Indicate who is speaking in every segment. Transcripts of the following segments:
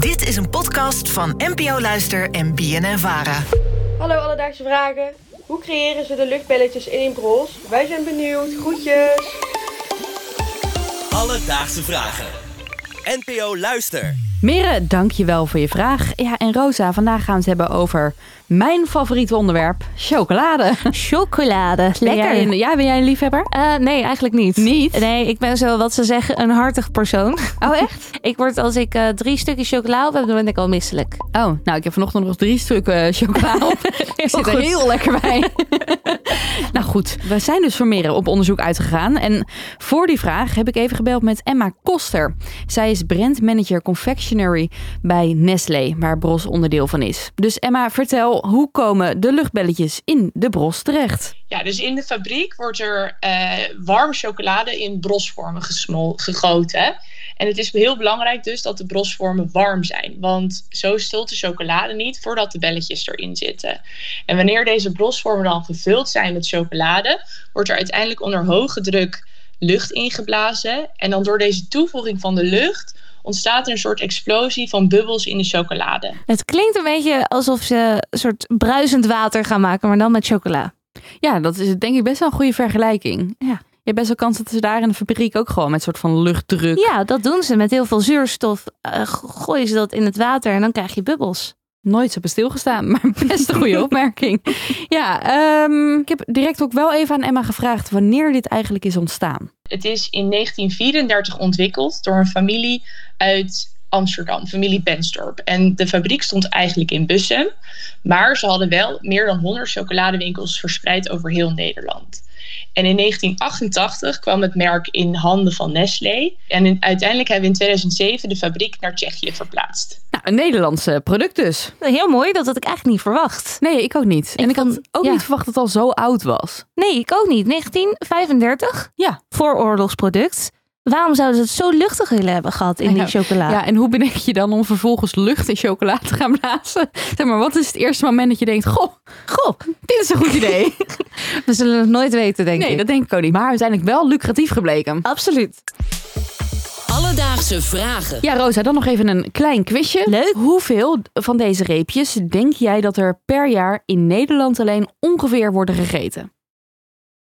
Speaker 1: Dit is een podcast van NPO Luister en BNN Vara.
Speaker 2: Hallo Alledaagse Vragen. Hoe creëren ze de luchtbelletjes in een bros? Wij zijn benieuwd. Groetjes.
Speaker 3: Alledaagse vragen. NPO Luister.
Speaker 4: Mere, dank je wel voor je vraag. Ja, en Rosa, vandaag gaan we het hebben over mijn favoriete onderwerp, chocolade.
Speaker 5: Chocolade.
Speaker 4: Ben
Speaker 5: Lekker.
Speaker 4: jij een- ja, ben jij een liefhebber?
Speaker 5: Eh, nee, eigenlijk niet.
Speaker 4: Niet?
Speaker 5: Nee, ik ben zo wat ze zeggen een hartig persoon.
Speaker 4: Oh, echt?
Speaker 5: Ik word als ik eh, drie stukjes chocola op heb, dan ben ik al misselijk.
Speaker 4: Oh, nou, ik heb vanochtend nog drie stukken chocolade op. Ik zit er
Speaker 5: goed.
Speaker 4: heel lekker bij. nou goed, we zijn dus voor Mere op onderzoek uitgegaan. En voor die vraag heb ik even gebeld met Emma Koster. Zij is brandmanager confectionery bij Nestlé, waar Bros onderdeel van is. Dus Emma, vertel, hoe komen de luchtbelletjes in de Bros terecht?
Speaker 6: Ja, dus in de fabriek wordt er eh, warme chocolade in brosvormen gesmol- gegoten. En het is heel belangrijk dus dat de brosvormen warm zijn. Want zo stult de chocolade niet voordat de belletjes erin zitten. En wanneer deze brosvormen dan gevuld zijn met chocolade... wordt er uiteindelijk onder hoge druk lucht ingeblazen. En dan door deze toevoeging van de lucht... ontstaat er een soort explosie van bubbels in de chocolade.
Speaker 5: Het klinkt een beetje alsof ze een soort bruisend water gaan maken, maar dan met chocola.
Speaker 4: Ja, dat is denk ik best wel een goede vergelijking.
Speaker 5: Ja.
Speaker 4: Je hebt best wel kans dat ze daar in de fabriek ook gewoon met soort van luchtdruk.
Speaker 5: Ja, dat doen ze met heel veel zuurstof. Eh, g- gooien ze dat in het water en dan krijg je bubbels.
Speaker 4: Nooit zo bij stilgestaan, maar best een goede opmerking. Ja, ehm, ik heb direct ook wel even aan Emma gevraagd wanneer dit eigenlijk is ontstaan.
Speaker 6: Het is in 1934 ontwikkeld door een familie uit Amsterdam, familie Benstorp. En de fabriek stond eigenlijk in Bussum, maar ze hadden wel meer dan 100 chocoladewinkels verspreid over heel Nederland. En in 1988 kwam het merk in handen van Nestlé. En in- uiteindelijk hebben we in 2007 de fabriek naar Tsjechië verplaatst.
Speaker 4: Nou, een Nederlandse product dus.
Speaker 5: Heel mooi, dat had ik eigenlijk niet verwacht.
Speaker 4: Nee, ik ook niet. en ik
Speaker 5: vond-
Speaker 4: had ook
Speaker 5: ja.
Speaker 4: niet verwacht dat het al zo oud was.
Speaker 5: Nee, ik ook niet. 1935?
Speaker 4: Ja.
Speaker 5: Vooroorlogsproduct. Waarom zouden ze het zo luchtig willen hebben gehad in
Speaker 4: Ja.
Speaker 5: die chocola?
Speaker 4: Ja, en hoe bedenk je dan om vervolgens lucht in chocola te gaan blazen? Zeg maar, wat is het eerste moment dat je denkt, goh, goh, dit is een goed idee.
Speaker 5: We zullen het nooit weten, denk
Speaker 4: nee, dat denk ik ook niet. Maar uiteindelijk wel lucratief gebleken.
Speaker 5: Absoluut.
Speaker 3: Alledaagse vragen.
Speaker 4: Ja, Rosa, dan nog even een klein quizje.
Speaker 5: Leuk.
Speaker 4: Hoeveel van deze reepjes denk jij dat er per jaar in Nederland alleen ongeveer worden gegeten?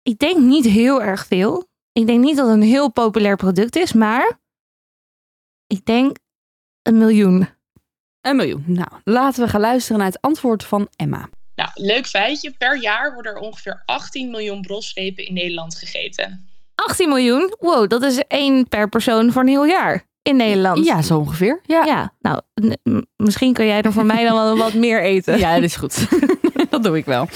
Speaker 5: Ik denk niet heel erg veel. Ik denk niet dat het een heel populair product is, maar ik denk een miljoen.
Speaker 4: Een miljoen. Nou, laten we gaan luisteren naar het antwoord van Emma.
Speaker 6: Nou, leuk feitje, per jaar worden er ongeveer 18 miljoen brosrepen in Nederland gegeten.
Speaker 5: 18 miljoen? Wow, dat is één per persoon voor een heel jaar in Nederland.
Speaker 4: Ja, zo ongeveer. Ja,
Speaker 5: Ja, nou, n- m- misschien kun jij er voor mij dan wel wat meer eten.
Speaker 4: ja dat is goed. dat doe ik wel.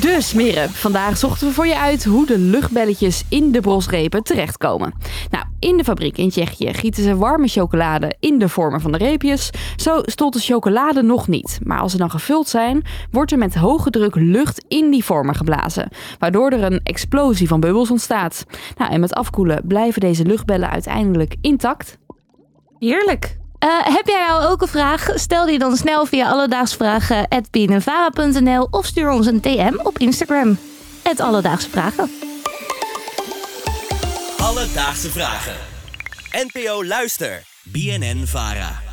Speaker 4: Dus Mirre, vandaag zochten we voor je uit hoe de luchtbelletjes in de brosrepen terechtkomen. Nou, in de fabriek in Tsjechië gieten ze warme chocolade in de vormen van de reepjes. Zo stolt de chocolade nog niet. Maar als ze dan gevuld zijn, wordt er met hoge druk lucht in die vormen geblazen. Waardoor er een explosie van bubbels ontstaat. Nou, en met afkoelen blijven deze luchtbellen uiteindelijk intact.
Speaker 5: Heerlijk. Eh, heb jij nou ook een vraag? Stel die dan snel via alledaagsvragen.bnnvara.nl of stuur ons een DM op Instagram. Het Alledaagse Vragen.
Speaker 3: Alledaagse vragen. NPO Luister. BNN Vara.